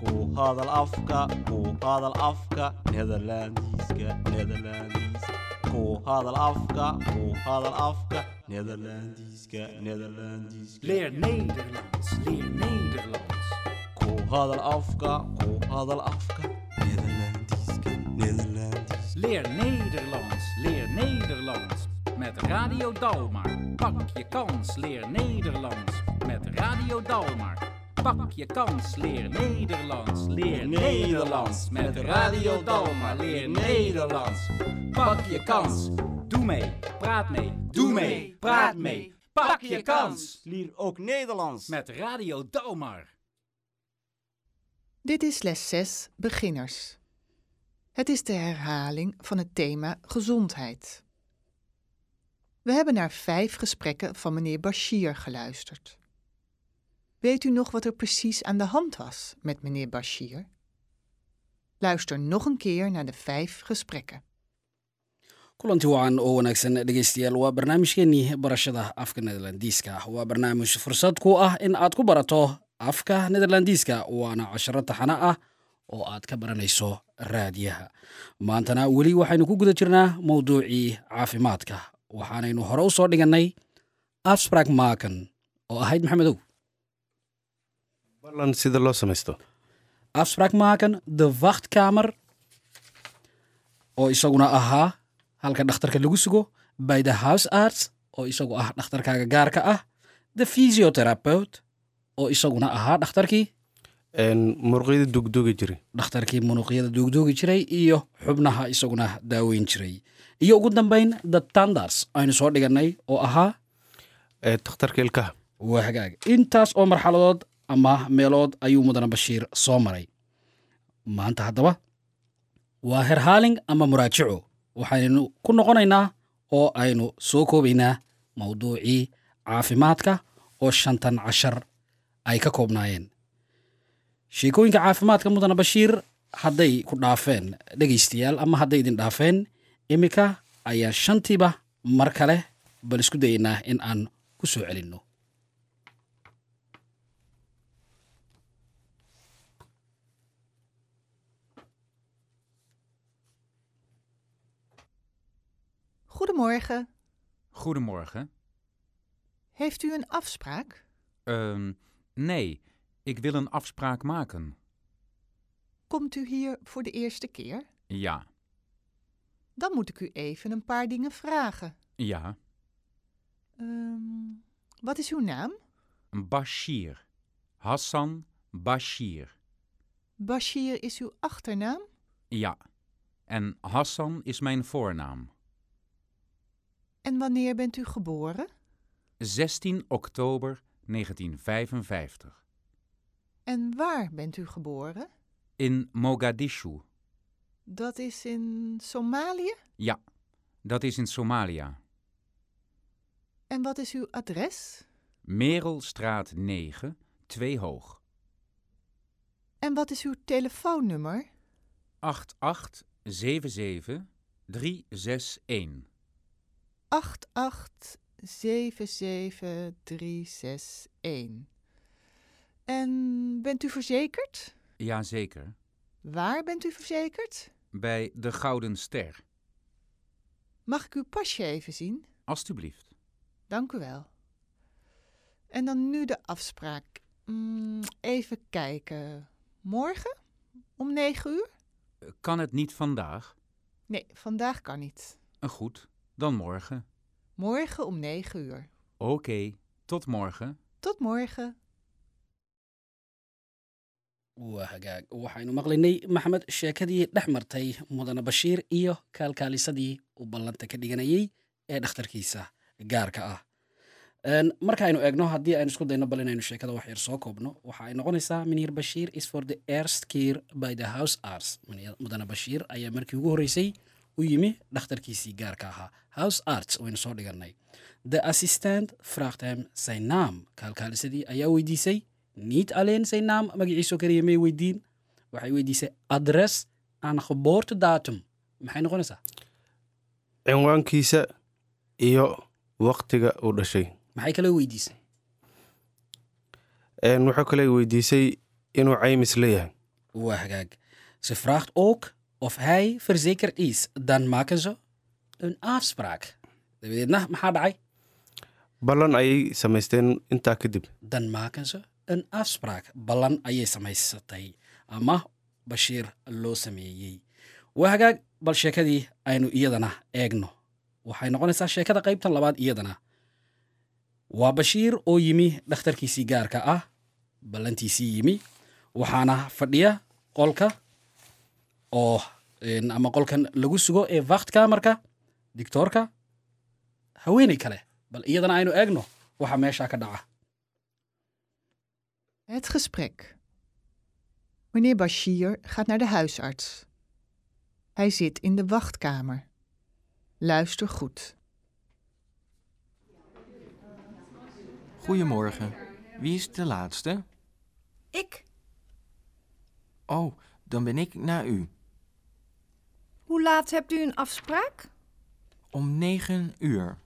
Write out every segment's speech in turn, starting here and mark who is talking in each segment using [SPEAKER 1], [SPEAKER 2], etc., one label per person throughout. [SPEAKER 1] ku hadal afka ku hadal afka Nederlandiska Nederlandiska ku hadal afka ku hadal afka Nederlandiska Nederlandiska
[SPEAKER 2] Leer Nederlands, leer Nederlands.
[SPEAKER 1] ku hadal afka ku hadal afka Nederlandiska Nederlandiska
[SPEAKER 2] Leer Nederlands, leer Nederlands. Met Radio Dalmar. Pak je kans, leer Nederlands. Met Radio Dalmar. Pak je kans, leer Nederlands, leer Nederlands. Met Radio Dalmar, leer Nederlands. Pak je kans, doe mee, praat mee, doe mee, praat mee. Pak je kans
[SPEAKER 1] Leer ook Nederlands
[SPEAKER 2] met Radio Dalmar.
[SPEAKER 3] Dit is les 6 Beginners. Het is de herhaling van het thema gezondheid. We hebben naar vijf gesprekken van meneer Bashir geluisterd. Weet u nog wat er precies aan de hand was met meneer Bashir? Luister nog een keer naar de vijf gesprekken.
[SPEAKER 4] kulanti wacan oo wanaagsan dhegeystayaal waa barnaamijkeenii barashada afka nederlandiiska waa barnaamij fursad ku ah in aad ku barato afka nederlandiiska waana casharo taxana ah oo aad ka baranayso raadiyaha maantana weli waxaynu ku guda jirnaa mowduucii caafimaadka waxaanaynu hore u soo dhigannay absprag maakan oo ahayd maxamedow
[SPEAKER 5] ballan sida loo samaysto
[SPEAKER 4] afspraak maken, de wachtkamer, oo isaguna ahaa halka dhakhtarka lagu sugo, bij de huisarts, oo isagu ah dhakhtarkaaga gaarka ah, de fysiotherapeut, oo isaguna ahaa dhakhtarkii,
[SPEAKER 5] Een muruqyada dugdugi jiri
[SPEAKER 4] dhakhtarkii munuqyada duugduugi jiray iyo xubnaha isaguna daaweyn jiray. Iyo ugu dambayn, de tandarts aynu soo dhigannay oo ahaa
[SPEAKER 5] ee takhtarka ilkaha
[SPEAKER 4] waa hagaag intaas oo marxaladood ama meelood ayuu mudane bashiir soo maray maanta haddaba waa herhaaling ama muraajico waxaynu ku noqonaynaa oo aynu soo koobaynaa mawduucii caafimaadka oo shantan cashar ay ka koobnaayeen sheekooyinka caafimaadka mudane bashiir hadday ku dhaafeen dhegaystayaal ama hadday idin dhaafeen imika ayaan shantiiba mar kale bal isku dayaynaa in aan ku soo celinno
[SPEAKER 3] Goedemorgen.
[SPEAKER 6] Goedemorgen.
[SPEAKER 3] Heeft u een afspraak?
[SPEAKER 6] Ehm, nee, ik wil een afspraak maken.
[SPEAKER 3] Komt u hier voor de eerste keer?
[SPEAKER 6] Ja,
[SPEAKER 3] Dan moet ik u even een paar dingen vragen.
[SPEAKER 6] ja.
[SPEAKER 3] Ehm, wat is uw naam?
[SPEAKER 6] Bashir. Hassan Bashir.
[SPEAKER 3] Bashir is uw achternaam?
[SPEAKER 6] Ja. En Hassan is mijn voornaam.
[SPEAKER 3] En wanneer bent u geboren?
[SPEAKER 6] 16 oktober 1955.
[SPEAKER 3] En waar bent u geboren?
[SPEAKER 6] In Mogadishu.
[SPEAKER 3] Dat is in Somalië.
[SPEAKER 6] Ja, dat is in Somalia.
[SPEAKER 3] En wat is uw adres?
[SPEAKER 6] Merelstraat 9, 2 hoog.
[SPEAKER 3] En wat is uw telefoonnummer?
[SPEAKER 6] 8877 361.
[SPEAKER 3] 8877361. En bent u verzekerd?
[SPEAKER 6] Jazeker.
[SPEAKER 3] Waar bent u verzekerd?
[SPEAKER 6] Bij de Gouden Ster.
[SPEAKER 3] Mag ik uw pasje even zien?
[SPEAKER 6] Alsjeblieft.
[SPEAKER 3] Dank u wel. En dan nu de afspraak. Mm, even kijken. Morgen? Om negen uur?
[SPEAKER 6] Kan het niet vandaag?
[SPEAKER 3] Nee, vandaag kan niet.
[SPEAKER 6] Eh, Goed, dan morgen.
[SPEAKER 3] Morgen om negen uur.
[SPEAKER 6] Oké, tot morgen.
[SPEAKER 3] Tot morgen.
[SPEAKER 4] waa hagaag waxaynu maqlaynay maxamed sheekadii dhex martay mudane bashiir iyo kaalkaalisadii uu ballanta ka dhiganayey ee dhakhtarkiisa gaarka ah Een, marka aynu eegno haddii aynu isku dayno bal inaynu sheekada wax yar soo koobno waxa ay noqonaysaa minheer bashiir is for the erst keer by the house arts Meneer mudane bashiir ayaa markii ugu horreysay u yimi dhakhtarkiisii gaarka ahaa house arts waynu soo dhigannay the assistant vraagt hem zijn naam kaalkaalisadii ayaa weydiisay niet alleen zijn naam magaciiso kaliya may weydiin waxay weydiisay adres aan geboortedatum maxay noqonaysaa
[SPEAKER 5] cinwaankiisa iyo waktiga uu dhashay
[SPEAKER 4] maxay kale weydiisay
[SPEAKER 5] Een, wuxuu kale weydiisay inuu caymis leeyahay
[SPEAKER 4] Waa hagaag. Ze vraagt ook of hij verzekerd is. Dan maken ze een afspraak. Dabadeed, nah, maxaa dhacay?
[SPEAKER 5] ballan ayay samaysteen intaa kadib
[SPEAKER 4] dan maken ze een afspraak. Ballan ayay samaysatay ama Bashiir loo sameeyey. Waa hagaag, bal sheekadii aynu iyadana eegno. Waxay noqonaysaa sheekada qaybta labaad iyadana. Waa Bashiir oo yimi dhakhtarkiisii gaarka ah, ballantiisii yimi, waxaana fadhiya qolka oo een, ama qolkan lagu sugo ee vachtkamerka, diktoorka, haweeney kale. Bal iyadana aynu eegno waxa meesha ka dhaca.
[SPEAKER 3] Het gesprek. Meneer Bashir gaat naar de huisarts. Hij zit in de wachtkamer. Luister goed.
[SPEAKER 7] Goedemorgen. Wie is de laatste?
[SPEAKER 8] Ik?
[SPEAKER 7] Oh, dan ben ik na u.
[SPEAKER 8] Hoe laat hebt u een afspraak?
[SPEAKER 7] Om negen uur.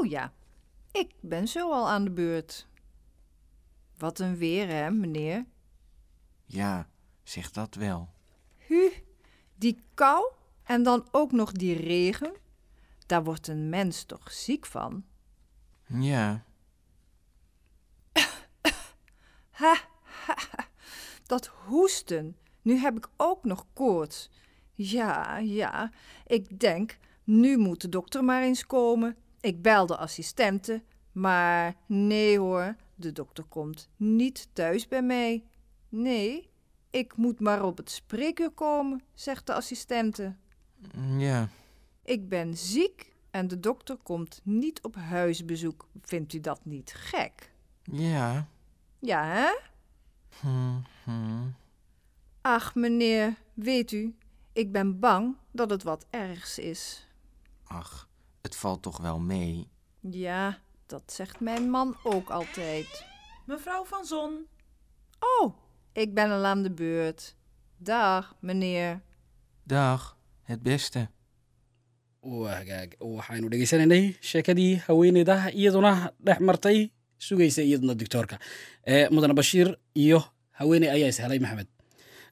[SPEAKER 8] Oh ja, ik ben zo al aan de beurt. Wat een weer, hè, meneer?
[SPEAKER 7] Ja, zeg dat wel.
[SPEAKER 8] Hu, die kou en dan ook nog die regen. Daar wordt een mens toch ziek van?
[SPEAKER 7] Ja,
[SPEAKER 8] Ha, ha, ha. dat hoesten. Nu heb ik ook nog koorts. Ja, ja, ik denk, nu moet de dokter maar eens komen. Ik bel de assistente, maar nee hoor, de dokter komt niet thuis bij mij. Nee, ik moet maar op het spreekuur komen, zegt de assistente.
[SPEAKER 7] ja.
[SPEAKER 8] Ik ben ziek en de dokter komt niet op huisbezoek. Vindt u dat niet gek?
[SPEAKER 7] Ja.
[SPEAKER 8] Ja, hè?
[SPEAKER 7] Hm, hm.
[SPEAKER 8] Ach, meneer, weet u, ik ben bang dat het wat ergs is.
[SPEAKER 7] Ach, het valt toch wel mee.
[SPEAKER 8] Ja, dat zegt mijn man ook altijd.
[SPEAKER 9] Mevrouw van Zon,
[SPEAKER 8] Oh, ik ben al aan de beurt. Dag, meneer.
[SPEAKER 7] Dag, het beste.
[SPEAKER 4] wagaag waxaynu dhegeysanaynay sheekadii haweeneyda iyaduna dhex martay sugaysa iyaduna diktoorka Eh, mudane bashiir iyo haweeney ayaa is helay maxamed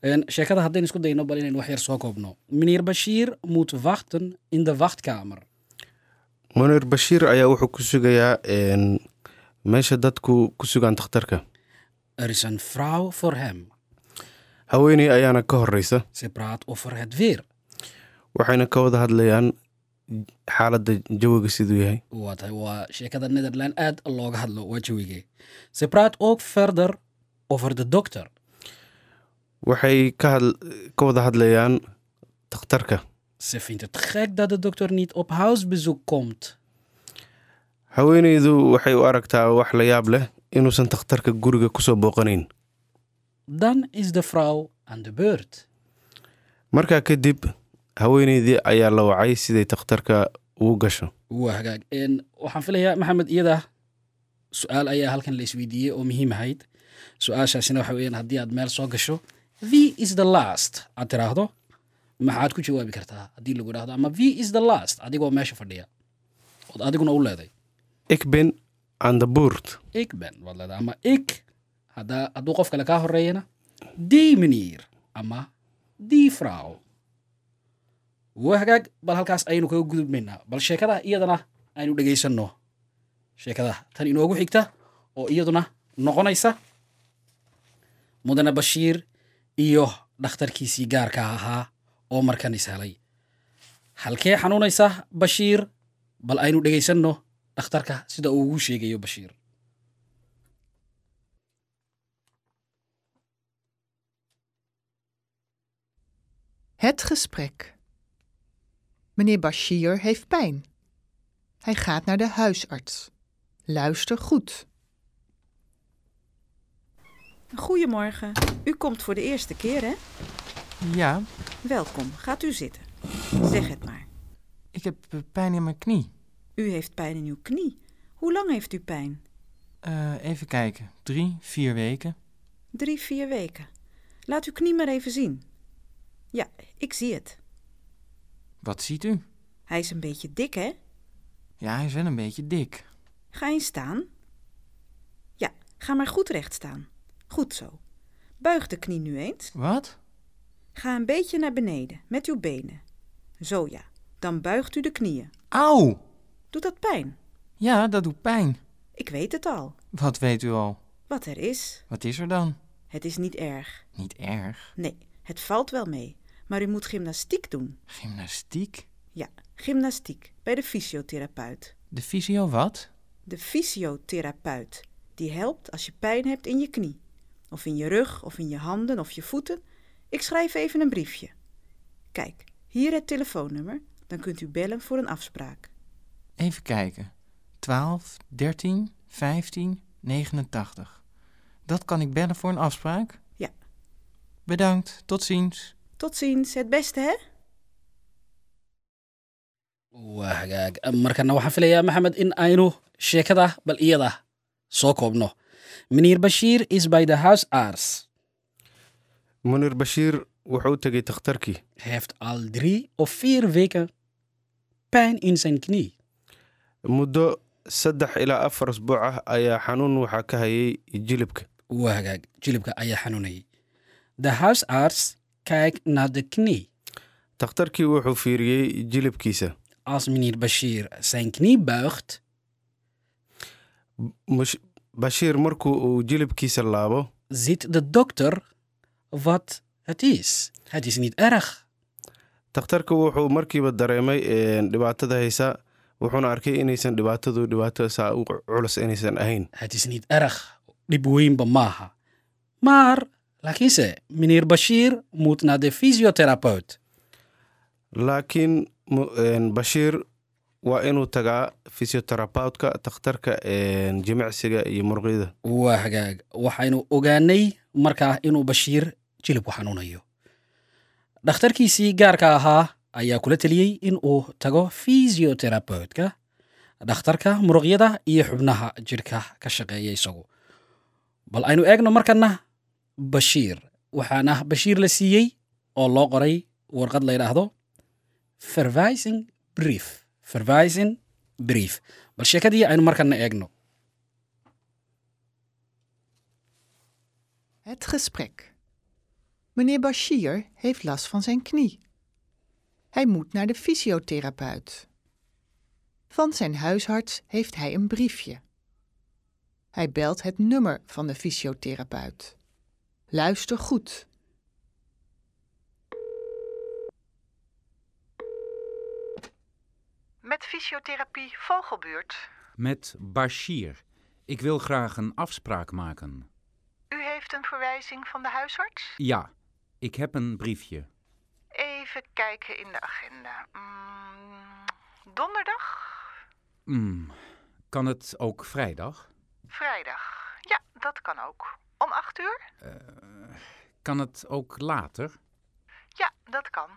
[SPEAKER 4] Een, sheekada haddaynu isku dayno bal inaynu wax yar soo koobno meneer bashiir moet wachten in de wachtkamer
[SPEAKER 5] munir bashiir ayaa wuxuu ku sugayaa een, meesha dadku ku sugaan takhtarka
[SPEAKER 4] er is een vrouw voor hem
[SPEAKER 5] haweeney ayaana ka horreysa
[SPEAKER 4] ze praat over het weer
[SPEAKER 5] waxayna ka wada hadlayaan xaaladda jawiga siduu yahay
[SPEAKER 4] Wat hij wa sheekada netherland aad looga hadlo waa jawigee ze praat ook verder over de dokter
[SPEAKER 5] waxay ka had- ka wada hadlayaan takhtarka
[SPEAKER 4] ze vindt het gek dat de dokter niet op huisbezoek komt
[SPEAKER 5] haweeneydu waxay u aragtaa wax la yaab leh inuusan takhtarka guriga kusoo booqanayn
[SPEAKER 4] dan is de vrouw aan de beurt.
[SPEAKER 5] markaa kadib haweeneydii ayaa la wacay siday takhtarka ugu gasho
[SPEAKER 4] Waa hagaag. En waxaan filayaa maxamed iyada su-aal ayaa halkan la isweydiiyey oo muhiim ahayd su-aashaasina waxa weeyaan haddii aad meel soo gasho v is the last aad tiraahdo maxaad ku jawaabi kartaa haddii lagu idhaahdo ama v is the last adigoo meesha fadhiya ood adiguna u leeday
[SPEAKER 5] ik ben aan de buurt
[SPEAKER 4] ik ben waad leedahay ama ik haddaa hadduu qof kale kaa horeeyana die meneer ama die vrouw waa hagaag bal halkaas ayaynu kaga gudubmaynaa bal sheekada iyadana aynu dhegaysanno sheekada tan inoogu xigta oo iyaduna noqonaysa mudane bashiir iyo dhakhtarkiisii gaarka ahaa oo markan is helay halkee xanuunaysa bashiir bal aynu dhegaysanno dhakhtarka sida uu ugu sheegayo bashiir
[SPEAKER 3] Het gesprek. Meneer Bashir heeft pijn. Hij gaat naar de huisarts. Luister goed.
[SPEAKER 9] goedemorgen. U komt voor de eerste keer, hè?
[SPEAKER 7] Ja,
[SPEAKER 9] Welkom, gaat u zitten. Zeg het maar.
[SPEAKER 7] ik heb eh, pijn in mijn knie.
[SPEAKER 9] U heeft pijn in uw knie. Hoe lang heeft u pijn?
[SPEAKER 7] Eh, even kijken, drie, vier weken.
[SPEAKER 9] Drie, vier weken. Laat uw knie maar even zien. Ja, ik zie het.
[SPEAKER 7] Wat ziet u?
[SPEAKER 9] Hij is een beetje dik, hè?
[SPEAKER 7] Ja, hij is wel een beetje dik.
[SPEAKER 9] Ga eens staan. Ja, ga maar goed recht staan. Goed zo. Buig de knie nu eens.
[SPEAKER 7] Wat?
[SPEAKER 9] Ga een beetje naar beneden met uw benen. Zo ja, dan buigt u de knieën.
[SPEAKER 7] Auw!
[SPEAKER 9] Doet dat pijn?
[SPEAKER 7] Ja, dat doet pijn.
[SPEAKER 9] Ik weet het al.
[SPEAKER 7] Wat weet u al?
[SPEAKER 9] Wat er is,
[SPEAKER 7] Wat is er dan?
[SPEAKER 9] het is niet erg.
[SPEAKER 7] Niet erg.
[SPEAKER 9] Nee, het valt wel mee. Maar u moet gymnastiek doen.
[SPEAKER 7] Gymnastiek?
[SPEAKER 9] Ja, gymnastiek bij de fysiotherapeut.
[SPEAKER 7] De fysio wat?
[SPEAKER 9] De fysiotherapeut. Die helpt als je pijn hebt in je knie. Of in je rug, of in je handen, of je voeten. Ik schrijf even een briefje. Kijk, hier het telefoonnummer. Dan kunt u bellen voor een afspraak.
[SPEAKER 7] Even kijken. 12, 13, 15, 89. Dat kan ik bellen voor een afspraak?
[SPEAKER 9] Ja.
[SPEAKER 7] Bedankt, tot ziens.
[SPEAKER 9] Tot ziens, het beste hè?
[SPEAKER 4] waa hagaag markana waxaan filayaa maxamed in aynu sheekada bal iyada soo koobno miniir bashiir is by the house ars
[SPEAKER 5] munir bashiir wuxuu u tegey takhtarkii
[SPEAKER 4] heeft al drie of vier weken pijn in zijn knie
[SPEAKER 5] muddo saddex ilaa afar asbuuc ah ayaa xanuun waxaa ka hayay jilibka
[SPEAKER 4] waa hagaag jilibka ayaa xanuunayay the house ars kijk naar de knie
[SPEAKER 5] takhtarkii wuxuu fiiriyey jilibkiisa
[SPEAKER 4] als meneer bashiir zijn knie buigt
[SPEAKER 5] Mush- bashiir markuu uu jilibkiisa laabo
[SPEAKER 4] ziet de dokter wat het is het is niet erg
[SPEAKER 5] takhtarka wuxuu markiiba dareemay een, dhibaatada haysa wuxuuna arkay inaysan dhibaatadu dhibaato saa u culus inaysan ahayn
[SPEAKER 4] Het is niet erg. Dhib weynba maaha. Maar, lakiinse, meneer Bashir moet naar de fysiotherapeut.
[SPEAKER 5] laakiin mu- een, bashiir waa inuu tagaa fysioterapeutka takhtarka een, jimicsiga iyo muruqyada
[SPEAKER 4] Waa hagaag. Waxaynu ogaanay markaa inuu Bashir jilibku xanuunayo. Dhakhtarkiisii gaarka ahaa ayaa kula teliyey inuu tago fysiotherapeut-ka, dhakhtarka muruqyada iyo xubnaha jirka ka shaqeeya isagu. Bal aynu eegno markana Bashir. Waxaana Bashir la siiyey oo loo qoray warqad la yidhaahdo verwijzing brief. Verwijzing brief. Bal sheekadii aynu markana eegno.
[SPEAKER 3] Het gesprek. Meneer Bashir heeft last van zijn knie. Hij moet naar de fysiotherapeut. Van zijn huisarts heeft hij een briefje. Hij belt het nummer van de fysiotherapeut. Luister goed. Met fysiotherapie Vogelbuurt.
[SPEAKER 6] Met Bashir. Ik wil graag een afspraak maken.
[SPEAKER 3] U heeft een verwijzing van de huisarts?
[SPEAKER 6] Ja, ik heb een briefje.
[SPEAKER 3] Even kijken in de agenda. Mm, donderdag?
[SPEAKER 6] Hmm, Kan het ook vrijdag?
[SPEAKER 3] Vrijdag. Ja, dat kan ook. Om acht uur?
[SPEAKER 6] Kan het ook later?
[SPEAKER 3] Ja, dat kan.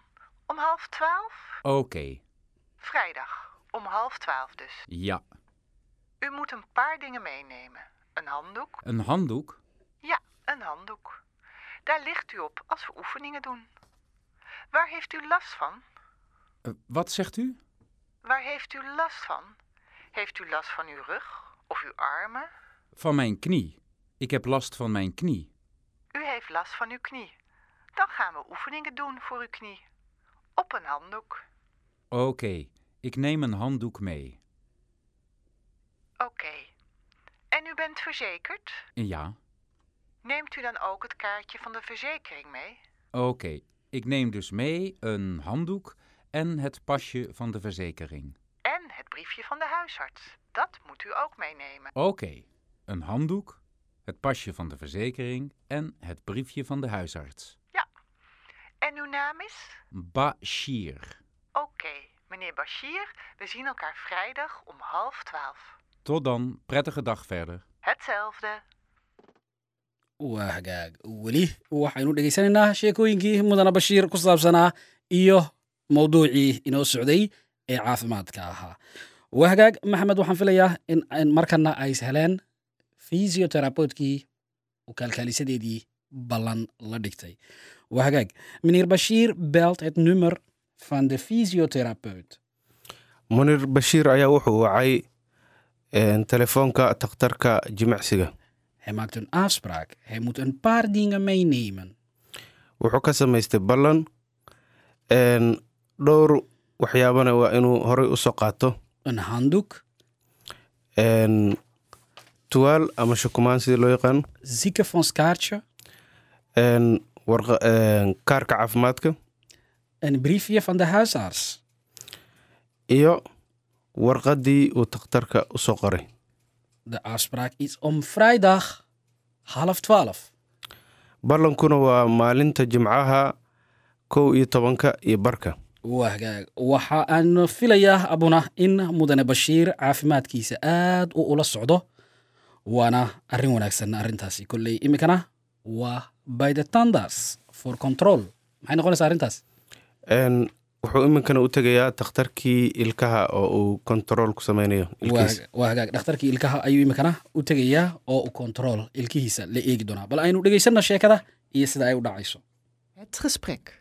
[SPEAKER 3] Om half twaalf?
[SPEAKER 6] Oké,
[SPEAKER 3] Vrijdag. Om half twaalf dus.
[SPEAKER 6] ja.
[SPEAKER 3] U moet een paar dingen meenemen. Een handdoek?
[SPEAKER 6] Een handdoek?
[SPEAKER 3] Ja, een handdoek. Daar ligt u op als we oefeningen doen. Waar heeft u last van?
[SPEAKER 6] Eh, wat zegt u?
[SPEAKER 3] Waar heeft u last van? Heeft u last van uw rug of uw armen?
[SPEAKER 6] Van mijn knie. Ik heb last van mijn knie.
[SPEAKER 3] U heeft last van uw knie. Dan gaan we oefeningen doen voor uw knie. Op een handdoek.
[SPEAKER 6] Oké, ik neem een handdoek mee.
[SPEAKER 3] Oké. En u bent verzekerd?
[SPEAKER 6] Ja,
[SPEAKER 3] Neemt u dan ook het kaartje van de verzekering mee?
[SPEAKER 6] oké. Ik neem dus mee een handdoek en het pasje van de verzekering.
[SPEAKER 3] En het briefje van de huisarts. Dat moet u ook meenemen.
[SPEAKER 6] Oké, een handdoek, het pasje van de verzekering en het briefje van de huisarts.
[SPEAKER 3] En uw naam is?
[SPEAKER 6] Bashir.
[SPEAKER 3] Oké, meneer Bashir, we zien elkaar vrijdag om half twaalf.
[SPEAKER 6] Tot dan, prettige dag verder.
[SPEAKER 3] Hetzelfde.
[SPEAKER 4] waa hagaag weli waxaynu dhegaysanaynaa sheekooyinkii mudana bashiir ku saabsanaa iyo mowduucii inoo socday ee caafimaadka ahaa waa hagaag maxamed waxaan filayaa in in markana ay heleen fysioterapeutkii oo kaalkaalisadeedii ballan la dhigtay waa hagaag meneer bashiir belt het nummer van de fysiotherapeut
[SPEAKER 5] munir bashiir ayaa wuxuu wacay een, telefoonka takhtarka jimicsiga
[SPEAKER 4] Hij maakt een afspraak. Hij moet een paar dingen meenemen.
[SPEAKER 5] wuxuu ka samaystay ballan een, dhowr waxyaabana waa inuu horey usoo qaato
[SPEAKER 4] Een handdoek,
[SPEAKER 5] een, tuwaal ama shukumaan sidii loo yaqaan
[SPEAKER 4] ziekenfondskaartje,
[SPEAKER 5] een, warqa- een, kaarka caafimaadka
[SPEAKER 4] een briefje van de huisarts.
[SPEAKER 5] iyo warqadii uu takhtarka usoo qoray
[SPEAKER 4] De afspraak is om vrijdag half twaalf.
[SPEAKER 5] ballankuna waa maalinta jimcaha kow iyo tobanka iyo barka
[SPEAKER 4] Wahgaag, waxa aan filayaa abuna in mudane bashiir caafimaadkiisa aad u ula socdo waana arrin wanaagsan arrintaasi kolley imikana waa by the tanders for control maxay noqonaysaa arrintaas
[SPEAKER 5] een, wuxuu iminkana u tegayaa takhtarkii ilkaha oo uu kontrool ku sameynayo ilkihiisa
[SPEAKER 4] Wahgaag- wahgaag dhakhtarkii ilkaha ayuu imikana u tegayaa oo u control ilkihiisa la eegi doonaa bal aynu dhegaysanna sheekada iyo sida ay u dhacayso
[SPEAKER 3] Het gesprek.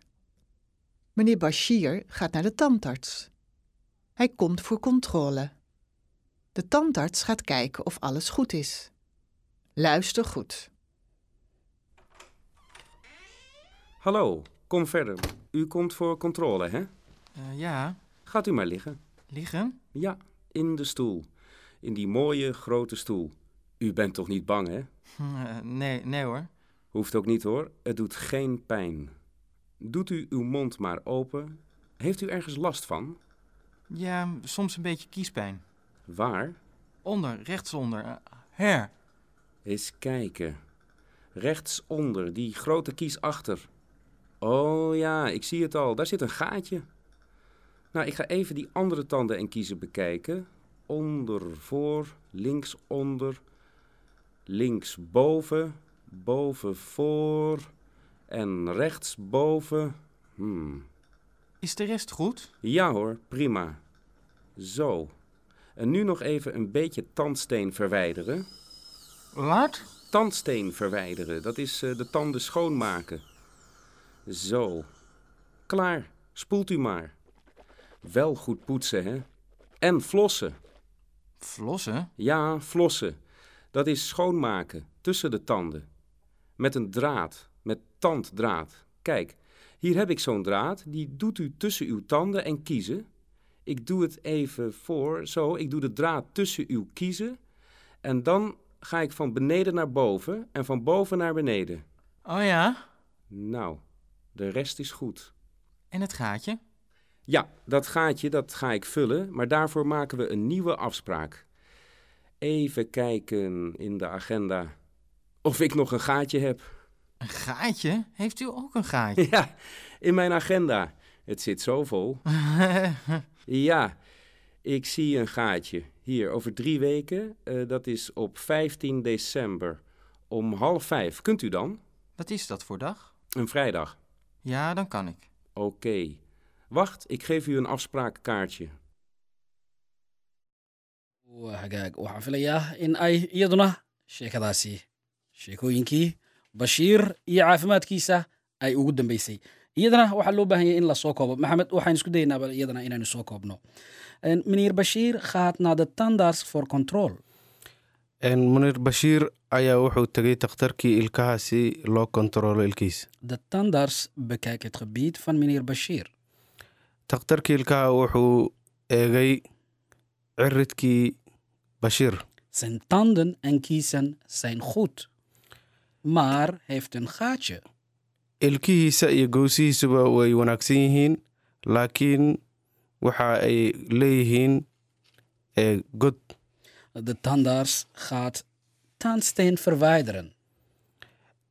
[SPEAKER 3] Meneer Bashir gaat naar de tandarts. Hij komt voor controle. De tandarts gaat kijken of alles goed is. Luister goed.
[SPEAKER 10] Hallo, kom verder. U komt voor controle, hè?
[SPEAKER 7] Eh, ja,
[SPEAKER 10] Gaat u maar liggen.
[SPEAKER 7] liggen?
[SPEAKER 10] Ja, in de stoel. In die mooie grote stoel. U bent toch niet bang, hè?
[SPEAKER 7] Eh, nee, nee hoor.
[SPEAKER 10] Hoeft ook niet hoor, het doet geen pijn. Doet u uw mond maar open. Heeft u ergens last van?
[SPEAKER 7] Ja, soms een beetje kiespijn.
[SPEAKER 10] Waar?
[SPEAKER 7] Onder, rechtsonder. eh, her.
[SPEAKER 10] Eens kijken. Rechtsonder, die grote kies achter. Oh ja, ik zie het al, daar zit een gaatje. Nou, ik ga even die andere tanden en kiezen bekijken. Onder, voor, links, onder, links, boven, boven, voor en rechts, boven. Hmm.
[SPEAKER 7] Is de rest goed?
[SPEAKER 10] Ja hoor, prima. Zo. En nu nog even een beetje tandsteen verwijderen.
[SPEAKER 7] Wat?
[SPEAKER 10] Tandsteen verwijderen, dat is eh, de tanden schoonmaken. Zo. Klaar, spoelt u maar. Wel goed poetsen, hè? En flossen.
[SPEAKER 7] Flossen?
[SPEAKER 10] Ja, flossen. Dat is schoonmaken tussen de tanden. Met een draad, met tanddraad. Kijk, hier heb ik zo'n draad, die doet u tussen uw tanden en kiezen. Ik doe het even voor, zo, ik doe de draad tussen uw kiezen. En dan ga ik van beneden naar boven en van boven naar beneden.
[SPEAKER 7] Oh ja.
[SPEAKER 10] Nou, de rest is goed.
[SPEAKER 7] En het gaatje?
[SPEAKER 10] Ja, dat gaatje, dat ga ik vullen, maar daarvoor maken we een nieuwe afspraak. Even kijken in de agenda of ik nog een gaatje heb.
[SPEAKER 7] Een gaatje? Heeft u ook een gaatje?
[SPEAKER 10] Ja, in mijn agenda. Het zit zo vol. Ja, ik zie een gaatje. Hier, over drie weken, eh, dat is op 15 december. Om half vijf. Kunt u dan?
[SPEAKER 7] Wat is dat voor dag?
[SPEAKER 10] Een vrijdag.
[SPEAKER 7] Ja, dan kan ik.
[SPEAKER 10] Oké. Wacht, ik geef u een afspraakkaartje.
[SPEAKER 4] wahagaag waxaan filayaa in ay iyaduna sheekadaasi sheekooyinkii bashiir iyo caafimaadkiisa ay ugu dambeysay iyadana waxaa loo baahan yahay in lasoo koobo maxamed waxaan isku daynaa bal iyadana inaanu soo koobno En meneer bashiir gaat naar de tandars for control
[SPEAKER 5] een, munir bashiir ayaa wuxuu tegay takhtarkii ilkaha si loo kontroolo ilkihiisa
[SPEAKER 4] de tandars bekijk het gebied van meneer bashiir
[SPEAKER 5] takhtarkii ilkaha wuxuu eegay ciridkii bashiir
[SPEAKER 4] zijn tanden en kiezen zijn goed maar heeft een gaatje
[SPEAKER 5] ilkihiisa iyo goosihiisuba way wanaagsan yihiin laakiin waxa ay leeyihiin ee, god
[SPEAKER 4] de tandars gaat tandsteen verwijderen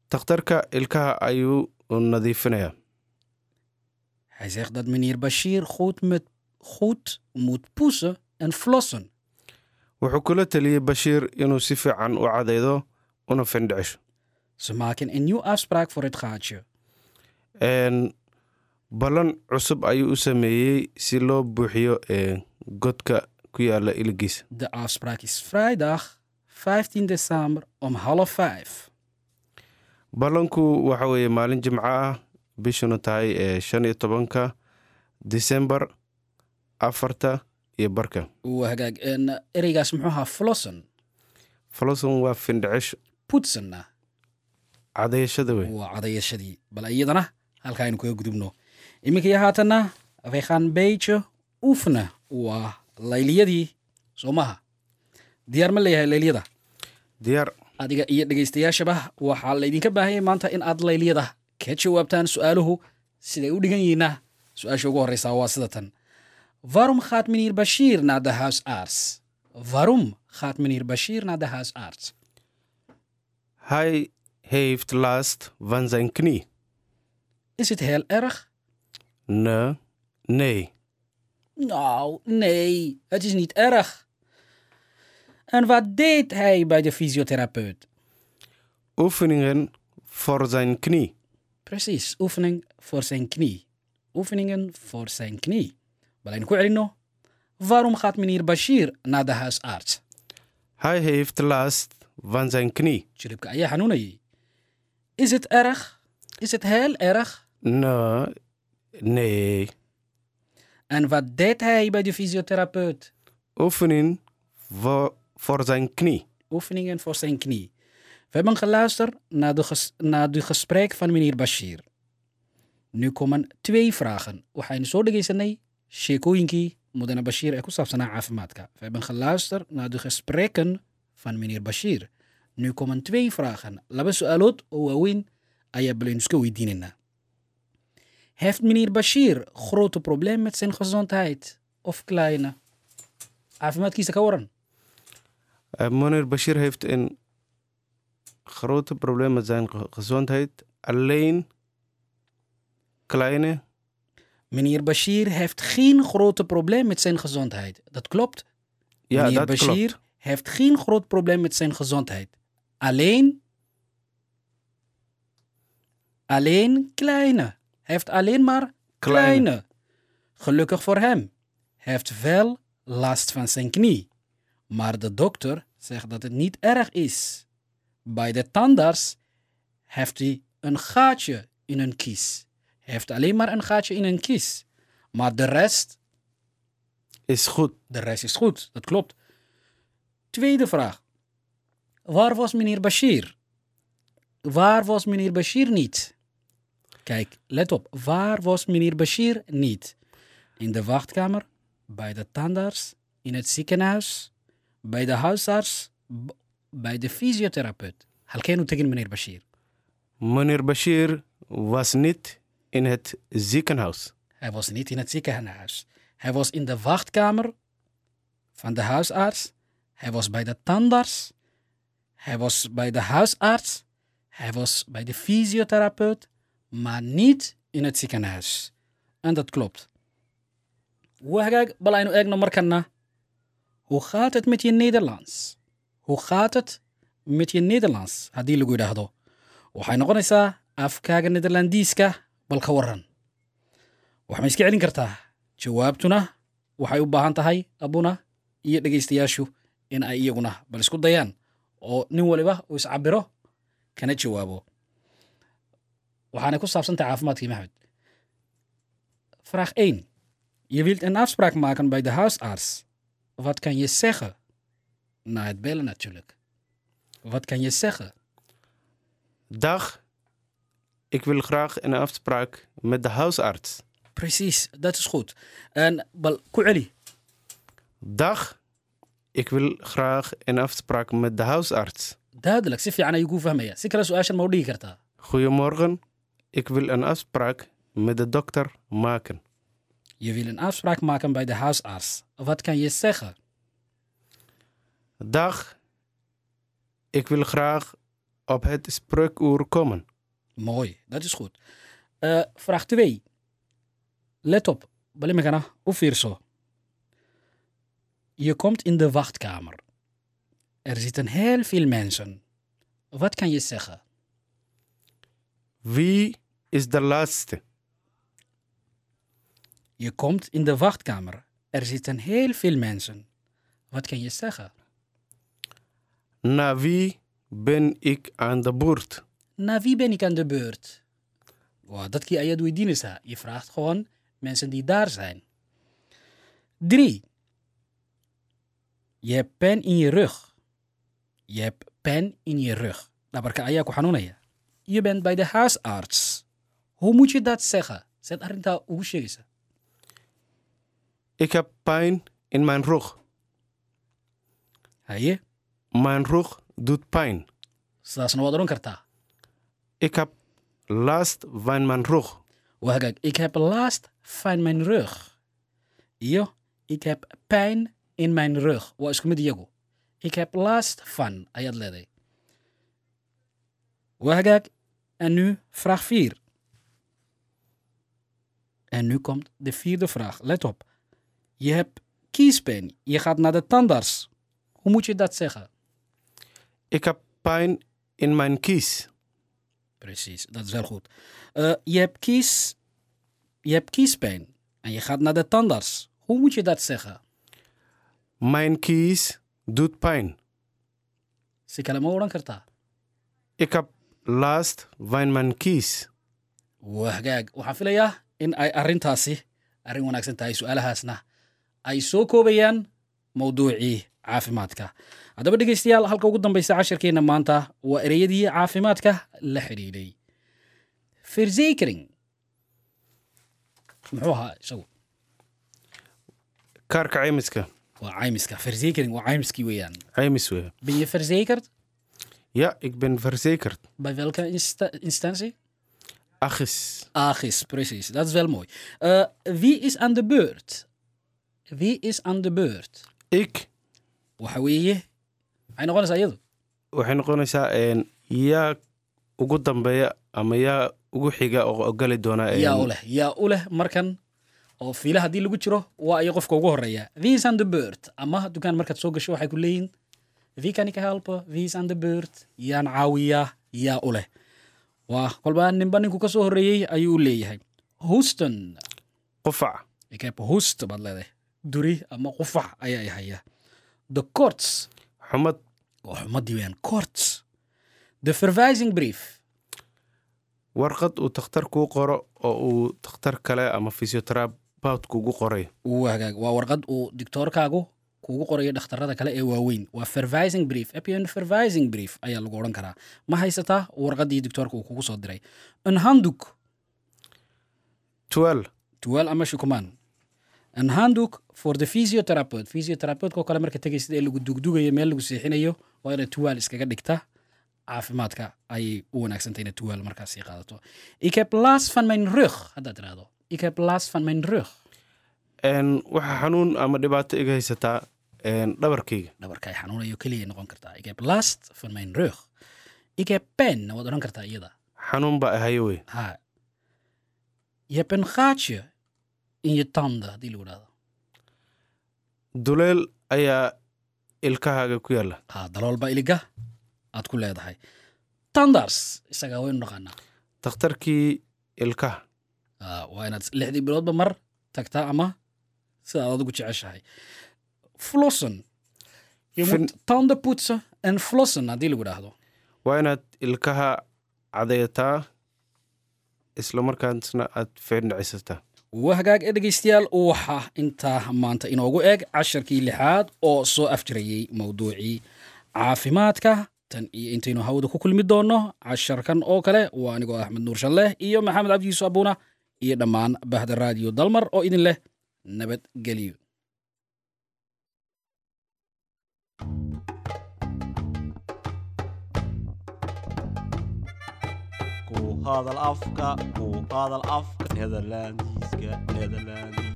[SPEAKER 5] takhtarka ilkaha ayuu nadiifinayaa
[SPEAKER 4] Hij zegt dat meneer Bashir goed, met, goed moet poesen en flossen.
[SPEAKER 5] wuxuu kula teliyey bashiir inuu si fiican u cadaydo una findhicisho
[SPEAKER 4] Ze maken een nieuwe afspraak voor het gaatje.
[SPEAKER 5] een, ballan cusub ayuu u sameeyey si loo buuxiyo een, godka ku yaala iligiisa
[SPEAKER 4] De afspraak is vrijdag 15 december om half vijf.
[SPEAKER 5] ballanku waxa weeye maalin jimco ah bishuna tahay ee shan iyo tobanka disembar afarta iyo barka
[SPEAKER 4] Oeh, kijk, en eh, ergaas muxuu ahaa flossen.
[SPEAKER 5] faloson waa findhicisho
[SPEAKER 4] pudsana
[SPEAKER 5] cadayashada wey
[SPEAKER 4] waa cadayashadii bal iyadana halkaaynu kaga gudubno iminkaiyo haatanna reekhan beyjo ufna waa layliyadii soomaha diyaar ma leeyahay layliyada
[SPEAKER 5] diyaar
[SPEAKER 4] adiga iyo dhegaystayaashaba waxaa laydinka baahanyay maanta in aad layliyada ka jawaabtaan su'aaluhu siday u dhigan yihiinna su-aasha ugu horreysa waa sida tan varum khaatminir bashiir na the house arts varum khaatminir bashiir na the house arts
[SPEAKER 5] Hij heeft last van zijn knie.
[SPEAKER 4] is het heel erg
[SPEAKER 5] Nee, nee.
[SPEAKER 4] Nou, nee, het is niet erg. En wat deed hij bij de fysiotherapeut?
[SPEAKER 5] Oefeningen voor zijn knie.
[SPEAKER 4] Precies, oefening voor zijn knie. Oefeningen voor zijn knie. Belijn Kuelino, waarom gaat meneer Bashir naar de huisarts?
[SPEAKER 5] Hij heeft last van zijn knie.
[SPEAKER 4] Chiripka Aya Hanouni. Is het erg? Is het heel erg?
[SPEAKER 5] Nee, nee.
[SPEAKER 4] En wat deed hij bij de fysiotherapeut?
[SPEAKER 5] Oefening voor, voor zijn knie.
[SPEAKER 4] Oefeningen voor zijn knie. We hebben geluisterd naar de, ges naar de gesprek van meneer Bashir. Nu komen twee vragen. Waxaynu soo dhegaysanay sheekooyinkii mudane Bashir ee ku saabsanaa caafimaadka. We hebben geluisterd naar de gesprekken van meneer Bashir. Nu komen twee vragen. Laba su'aalood oo waaweyn ayaa balaynu iska weydiinaynaa. Heeft meneer Bashir grote probleem met zijn gezondheid of kleine? Caafimaadkiisa ka waran.
[SPEAKER 5] Eh, meneer Bashir heeft een grote probleem met zijn ge- gezondheid. Alleen kleine.
[SPEAKER 4] Meneer Bashir heeft geen grote probleem met zijn gezondheid. Dat klopt.
[SPEAKER 5] Ja,
[SPEAKER 4] meneer
[SPEAKER 5] dat
[SPEAKER 4] Bashir
[SPEAKER 5] klopt.
[SPEAKER 4] heeft geen groot probleem met zijn gezondheid. Alleen. Alleen kleine. Hij heeft alleen maar kleine.
[SPEAKER 5] Kleine.
[SPEAKER 4] Gelukkig voor hem. Hij heeft wel last van zijn knie. Maar de dokter zegt dat het niet erg is. Bij de tandarts heeft hij een gaatje in een kies. Hij heeft alleen maar een gaatje in een kies. Maar de rest,
[SPEAKER 5] Is goed.
[SPEAKER 4] de rest is goed. Dat klopt. Tweede vraag. Waar was meneer Bashir? Waar was meneer Bashir niet? Kijk, let op. Waar was meneer Bashir niet? In de wachtkamer, bij de tandarts, in het ziekenhuis, bij de huisarts, b- bij de fysiotherapeut. Halkeen tegen meneer Bashir.
[SPEAKER 5] Meneer Bashir was niet in het ziekenhuis.
[SPEAKER 4] Hij was niet in het ziekenhuis. Hij was in de wachtkamer van de huisarts. Hij was bij de tandarts. Hij was bij de huisarts. Hij was bij de fysiotherapeut, maar niet in het ziekenhuis. En dat klopt. Wagag balaynu egno markana. Hoe gaat het met je Nederlands? Hoe gaat het met je Nederlands? Hadii lagu yidhaahdo. Waxay noqonaysaa afkaaga Nederlandiiska bal ka waran. wax ma iska celin kartaa jawaabtuna waxay u baahan tahay abuna iyo dhegaystayaashu in ay iyaguna bal isku dayaan oo nin waliba uu iscabiro kana jawaabo waxaanay ku saabsan tahay caafimaadkii maxmed vraag 1 je wilt een afspraak maken bij de huisarts wat kan je zeggen na het bellen natuurlijk wat kan je zeggen
[SPEAKER 5] Dag, ik wil graag een afspraak met de huisarts.
[SPEAKER 4] precies dat is goed en bal ku celi
[SPEAKER 5] Dag, ik wil graag een afspraak met de huisarts.
[SPEAKER 4] duidelijk si fiican ayuu kuu fahmaya si kale su-aashan ma u dhigi kartaa
[SPEAKER 5] Goedemorgen, ik wil een afspraak met de dokter maken.
[SPEAKER 4] Je wil een afspraak maken bij de huisarts. Wat kan je zeggen?
[SPEAKER 5] Dag, ik wil graag op het spreekuur komen.
[SPEAKER 4] Mooi, dat is goed. Eh, vraag 2. Let op. Balimagana, of hier zo. Je komt in de wachtkamer. Er zitten heel veel mensen. Wat kan je zeggen?
[SPEAKER 5] Wie is de laatste?
[SPEAKER 4] Je komt in de wachtkamer. Er zitten heel veel mensen. Wat kan je zeggen?
[SPEAKER 5] Na wie ben ik aan de beurt?
[SPEAKER 4] Na wie ben ik aan de beurt? Wow, dat kan je doen, Dinesa. Je vraagt gewoon mensen die daar zijn. Drie. Je hebt pijn in je rug. Nou, Je hebt pijn in je rug. dhabarka ayaa ku xanuunaya je bent bij de huisarts hoe moet je dat zeggen saad arrintaa ugu sheegaysaa
[SPEAKER 5] Ik heb pijn in mijn rug.
[SPEAKER 4] haye
[SPEAKER 5] Mijn rug doet pijn.
[SPEAKER 4] sidaasna waad odhan kartaa
[SPEAKER 5] Ik heb last van mijn rug.
[SPEAKER 4] Wacht, kijk, ik heb last van mijn rug. Ja, ik heb pijn in mijn rug. Wat is het Diego? Ik heb last van. Ayad lede. Wacht, kijk, en nu vraag 4. En nu komt de vierde vraag. Let op. Je hebt kiespijn. Je gaat naar de tandarts. Hoe moet je dat zeggen?
[SPEAKER 5] Ik heb pijn in mijn kies.
[SPEAKER 4] Precies, dat is wel goed. Eh, je, hebt kies, je hebt kiespijn en je gaat naar de tandarts. Hoe moet je dat zeggen?
[SPEAKER 5] Mijn kies doet pijn.
[SPEAKER 4] Si kalama odhan kartaa
[SPEAKER 5] Ik heb last van mijn kies.
[SPEAKER 4] waa hagaag waxaan filayaa in ay arrintaasi arrin wanaagsan tahay su-aalahaasna ay soo koobayaan mowduucii caafimaadka haddaba dhegeystayaal halka ugu dambaysa cashirkeenna maanta waa ereyadii caafimaadka la xidhiidhay verzekering muxuu ahaa isagu
[SPEAKER 5] Kaarka caymiska.
[SPEAKER 4] waa caymiska verzekering waa caymiskii weeyaan
[SPEAKER 5] Caymis weeye.
[SPEAKER 4] ben je verzekerd
[SPEAKER 5] Ja, ik ben verzekerd.
[SPEAKER 4] bij welke insta instantie
[SPEAKER 5] Achis.
[SPEAKER 4] Achis, precies. Dat is wel mooi. Eh, wie is aan de beurt? Wie is aan de beurt?
[SPEAKER 5] Ik.
[SPEAKER 4] waxa weeye waxay noqonaysaa iyadu
[SPEAKER 5] Waxay noqonaysaa een, yaa ugu dambeeya ama yaa ugu xiga oo gali doona. een,
[SPEAKER 4] yaa u leh yaa u leh markan oo fiila haddii lagu jiro waa iyo qofka ugu horeeya vis and the bird ama dukaan markaad soo gasho waxay ku leeyihin vi kan ika helpa vis and the bird yaan caawiyaa yaa u leh waa kolba ninba ninku ka soo horeeyey ayuu u leeyahay houston
[SPEAKER 5] Qufac.
[SPEAKER 4] ik heb host baad leedahay duri ama qufac ayaa i haya the courts
[SPEAKER 5] Xumad.
[SPEAKER 4] waa xumadii weyaan courts the verwijzing brief
[SPEAKER 5] Warqad uu takhtar kuu qoro oo uu takhtar kale ama physiotherapist kuugu qoray.
[SPEAKER 4] uu hagaag waa warqad uu dictoorkaagu kuugu qorayo dhakhtarada kale ee waaweyn waa vervising brief epian vervising brief ayaa lagu odhan karaa ma haysataa warqaddii dictoorka uu kugu soo diray enhanduk
[SPEAKER 5] Twelve.
[SPEAKER 4] duwal ama shukumaan enhanduk for the physiotherapist physiotherapeutka oo kale marka tegaysid ee lagu dugdugayo meel lagu seexinayo waa inay tuwaal iskaga dhigta caafimaadka ayay u wanaagsantay inay tuwaal markaasi qaadato ik heb last van mijn rug haddaad tiraahdo ik heb last van mijn rug
[SPEAKER 5] Een, waxa xanuun ama dhibaato iga haysataa een, dhabarkayga.
[SPEAKER 4] dhabarka ay xanuunayo keliya noqon kartaa ik heb last van mijn rug ik heb pen waad odhan kartaa iyada
[SPEAKER 5] Xanuun baa ahayo wey.
[SPEAKER 4] ha je hebt een gaatje in je tanden haddii lagu dhahdo
[SPEAKER 5] Duleel ayaa ilkahaaga ku yaalla.
[SPEAKER 4] ha dalool baa iliga aad ku leedahay tandars isagaa waynu naqaanaa
[SPEAKER 5] Takhtarkii ilkaha.
[SPEAKER 4] Ha, waa inaad lixdii biloodba mar tagtaa ama sida aad adigu jeceshahay flossen je moet tanden poetsen en flossen haddii lagu dhahdo
[SPEAKER 5] waa inaad ilkaha cadeeyataa isla markaasna aad feendhicisataa
[SPEAKER 4] wahagaag ee dhegaystayaal waxaa intaa maanta inoogu eeg casharkii lixaad oo soo afjirayey mowduucii caafimaadka tan iyo intaynu hawada ku kulmi doonno casharkan oo kale waa anigoo axmed nuur shalleh iyo maxamed cabdi yuusuf abuuna iyo dhammaan bahda raadiyo dalmar oo idin leh nabadgelyo
[SPEAKER 1] Ku hadal afka, ku hadal afka, Nederlandiska, Nederlandiska.